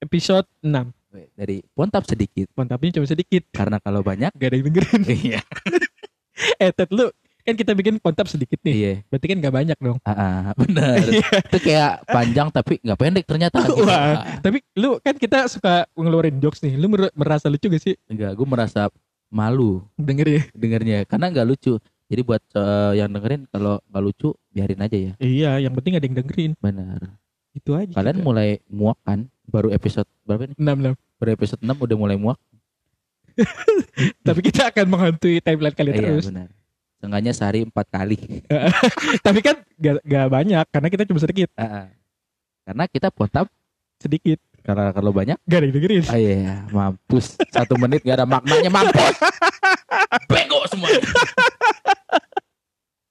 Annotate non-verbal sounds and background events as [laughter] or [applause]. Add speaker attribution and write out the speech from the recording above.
Speaker 1: episode 6.
Speaker 2: Dari pontap sedikit
Speaker 1: Mantapnya cuma sedikit.
Speaker 2: karena kalau
Speaker 1: [laughs]
Speaker 2: banyak
Speaker 1: Gak ada yang dengerin.
Speaker 2: iya.
Speaker 1: eh, Ted lu kan kita bikin pontap sedikit nih.
Speaker 2: Iya.
Speaker 1: Berarti kan gak banyak dong.
Speaker 2: Ah, ah, benar.
Speaker 1: [laughs] Iya.
Speaker 2: Itu kayak panjang tapi nggak pendek ternyata. Gitu.
Speaker 1: Wah.
Speaker 2: Ah,
Speaker 1: Tapi lu kan kita suka ngeluarin jokes nih. Lu mer- merasa lucu gak sih ya?
Speaker 2: Enggak, gue merasa malu
Speaker 1: dengerin?
Speaker 2: dengernya karena nggak lucu. Jadi buat eh, yang dengerin kalau nggak lucu biarin aja ya.
Speaker 1: Iya, yang penting ada yang dengerin. Iya.
Speaker 2: Benar.
Speaker 1: Itu aja.
Speaker 2: Kalian mulai muak kan? Baru episode berapa nih?
Speaker 1: 6
Speaker 2: Baru episode 6 udah mulai muak.
Speaker 1: Tapi kita akan menghantui timeline kalian
Speaker 2: Eh,
Speaker 1: Iya, terus.
Speaker 2: benar. Seenggaknya sehari empat
Speaker 1: [laughs]
Speaker 2: kali.
Speaker 1: Tapi kan gak, gak banyak karena kita cuma sedikit.
Speaker 2: Ah, ah. Karena kita pontap
Speaker 1: Sedikit.
Speaker 2: karena kalau banyak
Speaker 1: Gak ada yang dengerin.
Speaker 2: Ah iya, mampus. Satu menit gak ada maknanya, mampus. [laughs] Bego semua.